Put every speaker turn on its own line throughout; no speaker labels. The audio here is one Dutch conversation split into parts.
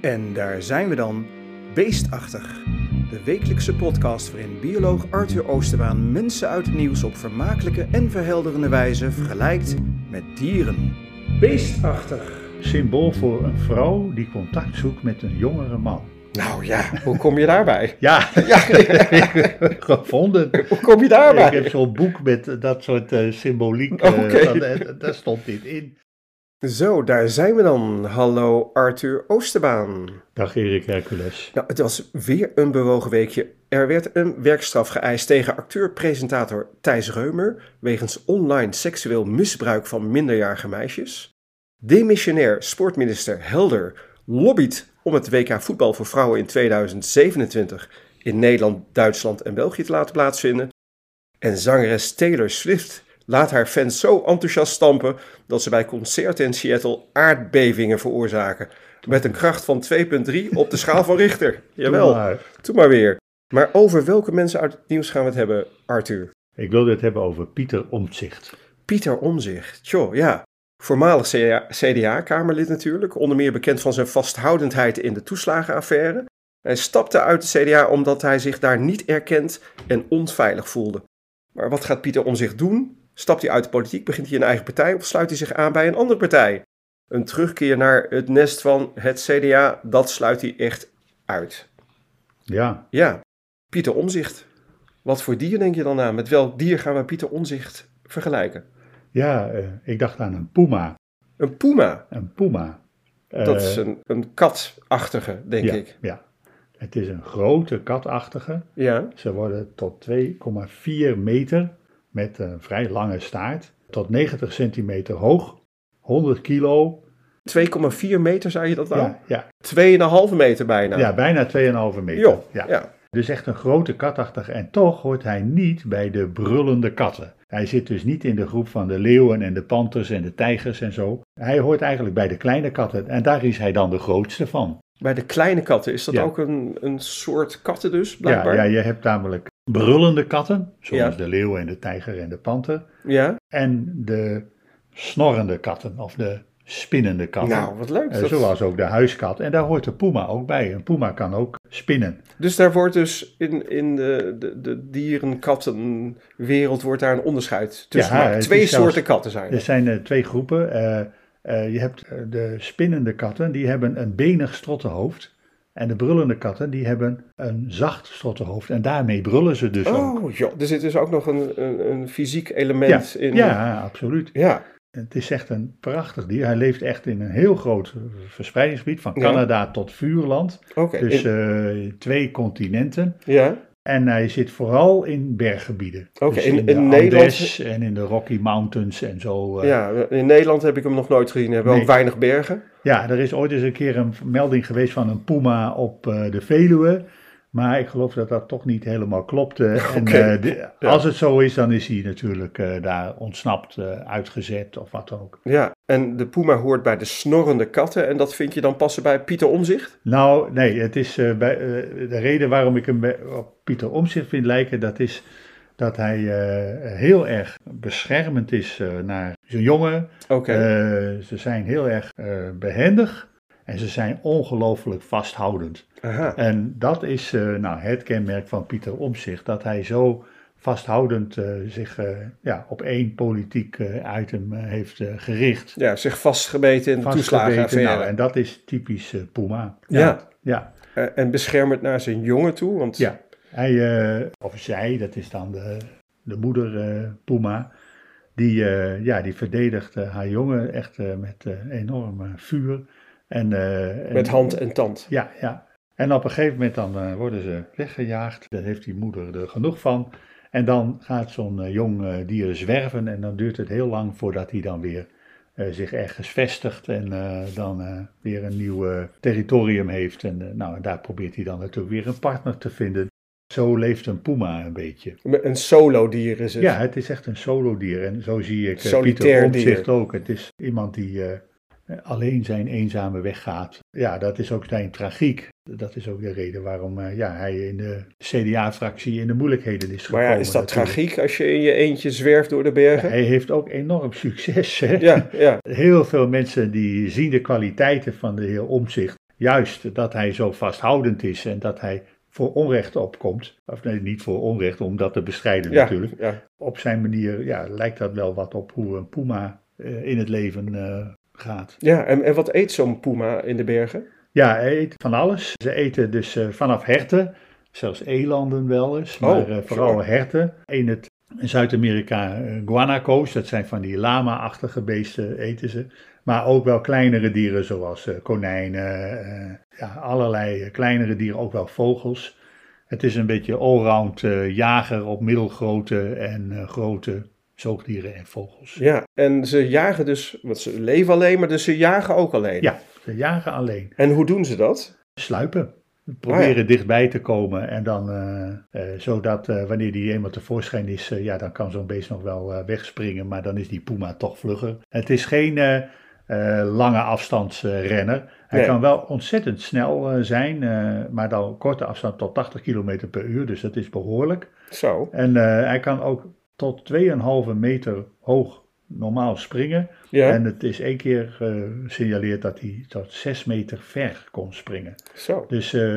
En daar zijn we dan, Beestachtig. De wekelijkse podcast waarin bioloog Arthur Oosterbaan mensen uit het nieuws op vermakelijke en verhelderende wijze vergelijkt met dieren. Beestachtig.
Symbool voor een vrouw die contact zoekt met een jongere man.
Nou ja, hoe kom je daarbij?
Ja, gevonden.
Hoe kom je
Ik
daarbij?
heb zo'n boek met eh, dat soort eh, symboliek. eh,
Oké.
van, eh, daar stond dit in.
Zo, daar zijn we dan. Hallo Arthur Oosterbaan.
Dag Erik Hercules.
Nou, het was weer een bewogen weekje. Er werd een werkstraf geëist tegen acteur-presentator Thijs Reumer wegens online seksueel misbruik van minderjarige meisjes. Demissionair sportminister Helder lobbyt om het WK voetbal voor vrouwen in 2027 in Nederland, Duitsland en België te laten plaatsvinden. En zangeres Taylor Swift laat haar fans zo enthousiast stampen dat ze bij concerten in Seattle aardbevingen veroorzaken. Met een kracht van 2,3 op de schaal van Richter. Jawel,
Doe maar.
doe maar weer. Maar over welke mensen uit het nieuws gaan we het hebben, Arthur?
Ik wilde het hebben over Pieter Omtzigt.
Pieter Omzicht, tjoh, ja. Voormalig CDA-kamerlid natuurlijk, onder meer bekend van zijn vasthoudendheid in de toeslagenaffaire. Hij stapte uit het CDA omdat hij zich daar niet erkend en onveilig voelde. Maar wat gaat Pieter Omzicht doen? Stapt hij uit de politiek, begint hij een eigen partij of sluit hij zich aan bij een andere partij? Een terugkeer naar het nest van het CDA, dat sluit hij echt uit.
Ja,
Ja, Pieter Omzicht. Wat voor dier denk je dan aan? Met welk dier gaan we Pieter Omzicht vergelijken?
ja eh, ik dacht aan een puma.
Een puma.
Een puma. Eh,
Dat is een, een katachtige, denk
ja,
ik.
Ja. Het is een grote katachtige.
Ja.
Ze worden tot 2,4 meter met een vrij lange staart, tot 90 centimeter hoog, 100 kilo,
2,4 meter zei je dat nou?
ja, ja,
2,5 meter bijna.
ja, bijna 2,5 meter.
Jo, ja.
ja. Dus echt een grote katachtige en toch hoort hij niet bij de brullende katten. Hij zit dus niet in de groep van de leeuwen en de panters en de tijgers en zo. Hij hoort eigenlijk bij de kleine katten en daar is hij dan de grootste van.
Bij de kleine katten is dat
Ja.
ook een, een soort katten dus,
Ja,
blijkbaar?
ja, je hebt namelijk brullende katten, zoals
Ja.
de leeuw en de tijger en de panter.
Ja?
en de snorrende katten of de spinnende katten.
Nou, wat leuk.
Eh,
Dat-
Zoals ook de huiskat. En daar hoort de puma ook bij. Een puma kan ook spinnen.
Dus daar wordt dus in, in de, de, de dierenkattenwereld wordt daar een onderscheid tussen
Ja,
gemaakt.
het is
Twee
zelfs-
soorten katten zijn
Er
er.
zijn eh, twee groepen. Eh, eh, je hebt eh, de spinnende katten, die hebben een benig strottenhoofd. En de brullende katten, die hebben een zacht strottenhoofd. En daarmee brullen ze dus ook.
Oh joh, er zit dus ook nog een, een, een fysiek element in.
Ja, absoluut.
Ja.
Het is echt een prachtig dier. Hij leeft echt in een heel groot eh, verspreidingsgebied, van
Ja.
Canada tot Vuurland.
oké.
Dus
In-
eh, twee continenten.
ja.
En hij zit vooral in berggebieden.
Oké,
dus
in-
de
in Nederland-
Andes en in de Rocky Mountains en zo. eh. Ja.
ja, in Nederland heb ik hem nog nooit gezien. We hebben ook
Nee.
weinig bergen.
er is ooit eens een keer een melding geweest van een puma op eh, de Veluwe. Maar ik geloof dat dat toch niet helemaal klopte. En,
Oké,
eh, de-
ja.
Als het zo is, dan is hij natuurlijk eh, daar ontsnapt, eh, uitgezet of wat dan ook.
Ja, en de puma hoort bij de snorrende katten en dat vind je dan passen bij Pieter Omzicht?
Nou, nee, het is eh, bij, eh, de reden waarom ik hem bij- op Pieter Omtzigt vind lijken, dat is dat hij eh, heel erg beschermend is eh, naar zijn jongen.
Oké.
Eh, ze zijn heel erg eh, behendig en ze zijn ongelooflijk vasthoudend.
Eh, Aha.
En dat is eh, nou, het kenmerk van Pieter Omtzigt, dat hij zo vasthoudend eh, zich eh, ja, op één politiek eh, item eh, heeft eh, gericht.
Ja, zich vastgebeten in de
Vastgebeten,
toeslagenaffaire.
nou, en dat is typisch eh, Puma.
ja.
ja,
Eh, en beschermend naar zijn jongen toe, want
ja. Hij, eh, of zij, dat is dan de, de moeder eh, Puma, die, eh, ja, die verdedigt eh, haar jongen echt eh, met eh, enorm eh, vuur. En, eh, en-
met hand en tand.
Ja, ja. En op een gegeven moment dan eh, worden ze weggejaagd. Daar heeft die moeder er genoeg van. En dan gaat zo'n eh, jong eh, dier zwerven en dan duurt het heel lang voordat hij dan weer eh, zich ergens vestigt en eh, dan eh, weer een nieuw eh, territorium heeft. En eh, nou, en daar probeert hij dan natuurlijk weer een partner te vinden. Zo leeft een puma een beetje.
Een solo dier is het.
Ja, het is echt een solodier. En zo zie ik eh,
Dus- Solitair
Pieter
dier.
Omtzigt ook. Het is iemand die eh, alleen zijn eenzame weg gaat. Ja, dat is ook zijn tragiek. Dat is ook de reden waarom eh, ja, hij in de CDA-fractie in de moeilijkheden is
maar
gekomen.
ja, is dat
natuurlijk.
tragiek als je in je eentje zwerft door de bergen?
Hij heeft ook enorm succes. Hè?
Ja, ja.
Heel veel mensen die zien de kwaliteiten van de heer Omtzigt. juist dat hij zo vasthoudend is en dat hij voor onrecht opkomt. Of nee, niet voor onrecht, om dat te bestrijden
Ja,
natuurlijk.
ja.
Op zijn manier ja, lijkt dat wel wat op hoe een puma eh, in het leven eh, gaat.
ja en, en wat eet zo'n puma in de bergen?
Ja, hij eet van alles. Ze eten dus eh, vanaf herten, zelfs elanden wel eens, maar
Oh,
eh, vooral
zo.
herten. In het in Zuid-Amerika eh, guanaco's, dat zijn van die lama-achtige beesten, eten ze. Maar ook wel kleinere dieren zoals eh, konijnen, eh, ja, allerlei eh, kleinere dieren, ook wel vogels. Het is een beetje allround eh, jager op middelgrote en eh, grote zoogdieren en vogels.
Ja, en ze jagen dus, want ze leven alleen, maar dus ze jagen ook alleen.
Ja, ze jagen alleen.
En hoe doen ze dat?
sluipen. Proberen dichtbij te komen en dan, eh, eh, zodat eh, wanneer die eenmaal tevoorschijn is, eh, ja, dan kan zo'n beest nog wel eh, wegspringen, maar dan is die puma toch vlugger. Het is geen eh, eh, lange afstandsrenner. Hij
Nee.
kan wel ontzettend snel eh, zijn, eh, maar dan korte afstand tot 80 km per uur, dus dat is behoorlijk.
Zo,
En eh, hij kan ook tot 2,5 meter hoog normaal springen.
ja,
En het is één keer gesignaleerd dat hij tot 6 meter ver kon springen.
zo.
Dus, eh,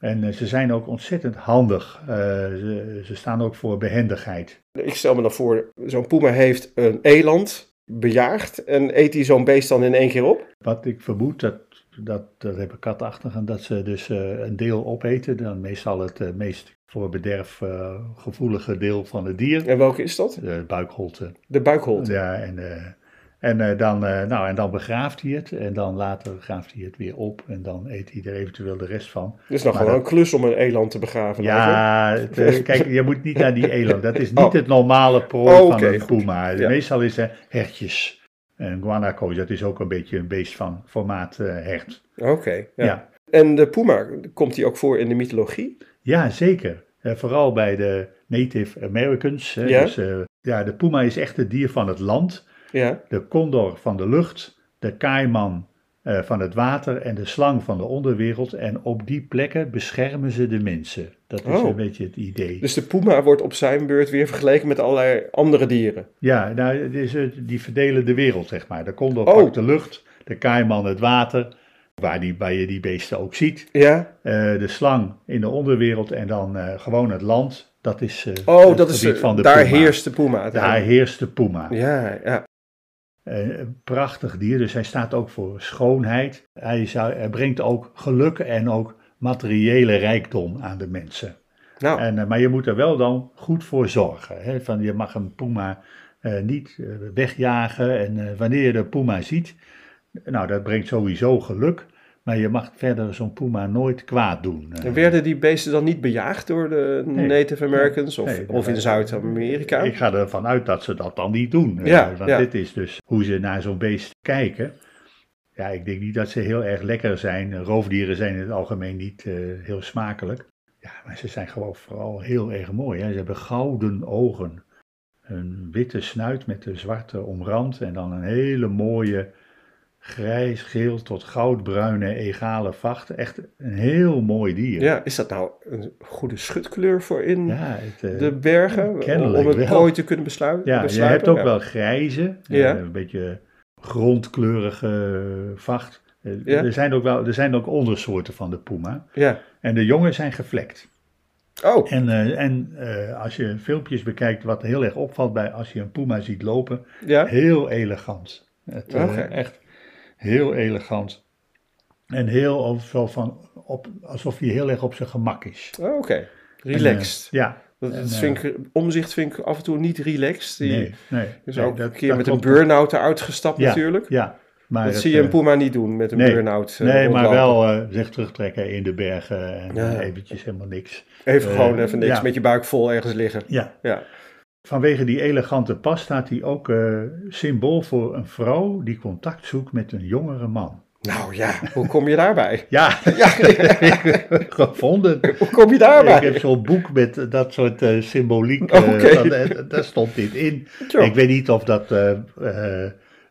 en eh, ze zijn ook ontzettend handig. Eh, ze, ze staan ook voor behendigheid.
Ik stel me dan voor, zo'n puma heeft een eland bejaagd en eet hij zo'n beest dan in één keer op?
Wat ik vermoed, dat, dat, dat hebben katachtigen, dat ze dus eh, een deel opeten. Dan meestal het eh, meest voor bederf eh, gevoelige deel van het dier.
En welke is dat?
De buikholte.
De buikholt.
Ja, en, eh, en, eh, dan, eh, nou, en dan begraaft hij het. En dan later graaft hij het weer op. En dan eet hij er eventueel de rest van.
Dus nog
Maar
wel een
dat-
klus om een eland te begraven. eigenlijk.
Ja, het, eh, kijk, je moet niet naar die eland. Dat is niet
Oh.
het normale prooi
Oh,
van
oké,
een
goed.
puma. Dus
Ja.
Meestal is er hertjes. En guanaco, dat is ook een beetje een beest van formaat eh, hert.
Oké. ja.
Ja, ja.
En de puma, komt die ook voor in de mythologie?
zeker. Eh, vooral bij de Native Americans. hè.
Ja.
Dus, eh, ja, de puma is echt het dier van het land.
Ja,
De condor van de lucht. De kaiman eh, van het water. En de slang van de onderwereld. En op die plekken beschermen ze de mensen. Dat is
Oh.
een beetje het idee.
dus de puma wordt op zijn beurt weer vergeleken met allerlei andere dieren.
Ja, nou, het is, eh, die verdelen de wereld, zeg maar. De condor
Oh.
pakt de lucht, de kaiman het water, waar, die, waar je die beesten ook ziet.
Ja,
Eh, de slang in de onderwereld en dan eh, gewoon het land. Dat is eh,
oh,
het
dat is,
gebied van de
daar
puma.
heerst de puma.
Daar heerst de puma.
Ja, ja,
Eh, een prachtig dier, dus hij staat ook voor schoonheid. Hij, zou, hij brengt ook geluk en ook materiële rijkdom aan de mensen.
nou,
En, eh, maar je moet er wel dan goed voor zorgen. Hè? Van, je mag een puma eh, niet eh, wegjagen. En eh, wanneer je de puma ziet, nou dat brengt sowieso geluk. Maar je mag verder zo'n puma nooit kwaad doen. eh.
en werden die beesten dan niet bejaagd door de
Nee.
Native Americans of,
Nee,
of in
eh,
Zuid-Amerika?
Ik ga ervan uit dat ze dat dan niet doen. eh,
Ja,
want
ja.
dit is dus hoe ze naar zo'n beest kijken. Ja, ik denk niet dat ze heel erg lekker zijn. Roofdieren zijn in het algemeen niet eh, heel smakelijk. Ja, maar ze zijn gewoon vooral heel erg mooi. Hè. Ze hebben gouden ogen. Een witte snuit met een zwarte omrand. En dan een hele mooie grijs-geel tot goudbruine egale vacht. Echt een heel mooi dier.
Ja, is dat nou een goede schutkleur voor in
Ja, het, eh,
de bergen?
kennelijk
om het
wel.
prooi te kunnen besluiten?
Ja, je
besluipen?
hebt ook
Ja.
wel grijze,
Ja.
eh, een beetje grondkleurige eh, vacht. Eh,
Ja.
Er, zijn ook wel, er zijn ook ondersoorten van de puma.
Ja.
En de jongen zijn gevlekt.
Oh,
En, eh, en eh, als je filmpjes bekijkt, wat heel erg opvalt bij als je een puma ziet lopen,
ja.
heel elegant. Het, eh,
Oké.
Echt heel elegant. En heel of- zo van, op, alsof hij heel erg op zijn gemak is.
Oh, Oké,
En, eh,
relaxed.
ja.
Dat,
En,
dat
eh,
vind ik, omzicht vind ik af en toe niet relaxed. Die
nee, nee.
is
nee,
ook
dat-
een keer
dat
met een
klopt.
burn-out eruit gestapt
Ja,
natuurlijk.
Ja, maar
dat
het,
zie je een
eh,
Puma niet doen met een
nee.
burn-out. eh,
Nee, maar
rondlopen.
wel eh, zich terugtrekken in de bergen en
Ja.
eh, eventjes helemaal niks.
Even
eh,
gewoon even niks
ja.
met je buik vol ergens liggen.
Ja.
Ja.
Vanwege die elegante pas staat hij ook eh, symbool voor een vrouw die contact zoekt met een jongere man.
Nou ja, hoe kom je daarbij?
Ja,
Ja,
gevonden.
hoe kom je
Ik
daarbij?
heb zo'n boek met eh, dat soort eh, symboliek.
Oké.
eh, van, eh, daar stond dit in.
Tjoh.
Ik weet niet of dat eh, eh,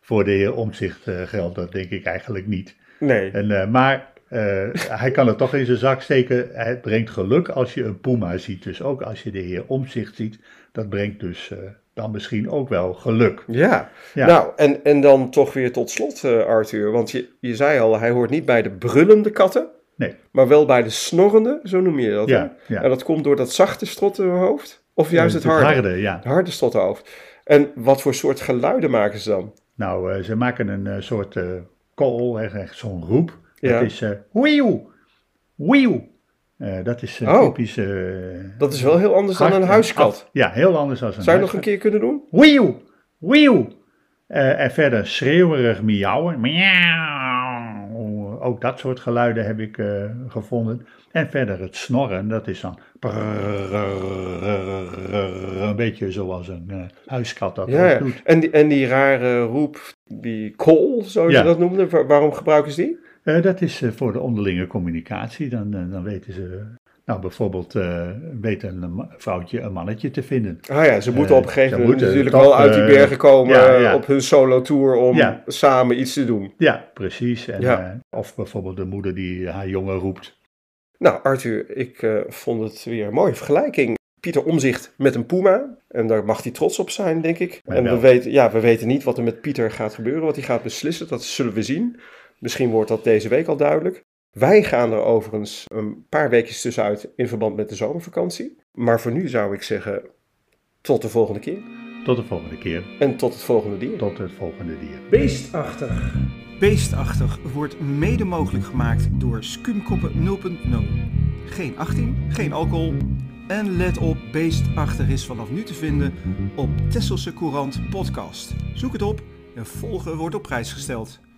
voor de heer Omzicht eh, geldt. Dat denk ik eigenlijk niet.
Nee,
En, eh, maar eh, hij kan het toch in zijn zak steken. Het brengt geluk als je een puma ziet. Dus ook als je de heer Omzicht ziet, dat brengt dus eh, dan misschien ook wel geluk.
Ja,
Ja.
nou en, en dan toch weer tot slot eh, Arthur. Want je, je zei al, hij hoort niet bij de brullende katten.
Nee.
Maar wel bij de snorrende, zo noem je dat. hè?
Ja, ja. Eh,
En dat komt door dat zachte strottenhoofd? Of juist het harde?
harde ja.
Het harde strottenhoofd. En wat voor soort geluiden maken ze dan?
Nou, eh, ze maken een eh, soort eh call, hè, echt zo'n roep.
Ja.
Dat is eh wieuw, wieuw. Eh, dat is eh
Oh.
typisch... eh,
Dat is wel heel anders dan
hard
een
en
huiskat.
af. Ja, heel anders dan een
Zou je nog
huiskat.
een keer kunnen doen?
Wieuw, wieuw. Eh, en verder schreeuwerig miauwen. Miauw. Ook dat soort geluiden heb ik eh, gevonden. En verder het snorren, dat is dan... Een beetje zoals een eh, huiskat dat
Ja,
ook
ja.
doet.
En die, en die rare roep, die call, zoals
Ja.
je dat noemde. wa- Waarom gebruiken ze die?
Eh, dat is eh, voor de onderlinge communicatie. Dan, eh, dan weten ze, nou bijvoorbeeld, eh weet een ma- vrouwtje een mannetje te vinden.
Ah ja, ze moeten
Eh,
op een gegeven
ze
moment
moeten
natuurlijk
toch,
wel uit die
eh,
bergen komen
ja,
eh,
ja.
op hun solo tour om
Ja.
samen iets te doen.
Ja, precies. En,
Ja.
eh, of bijvoorbeeld de moeder die haar jongen roept.
Nou, Arthur, ik eh, vond het weer een mooie vergelijking. Pieter Omzicht met een Puma. En daar mag hij trots op zijn, denk ik.
Maar
en we
wel.
weten, ja, we weten niet wat er met Pieter gaat gebeuren, wat hij gaat beslissen. Dat zullen we zien. Misschien wordt dat deze week al duidelijk. Wij gaan er overigens een paar weekjes tussenuit in verband met de zomervakantie. Maar voor nu zou ik zeggen, tot de volgende keer.
Tot de volgende keer.
En tot het volgende dier.
Tot het volgende dier.
Beestachtig. Beestachtig wordt mede mogelijk gemaakt door Skumkoppen 0.0. Geen 18, geen alcohol. En let op, Beestachtig is vanaf nu te vinden op Tesselse Courant Podcast. Zoek het op en volgen wordt op prijs gesteld.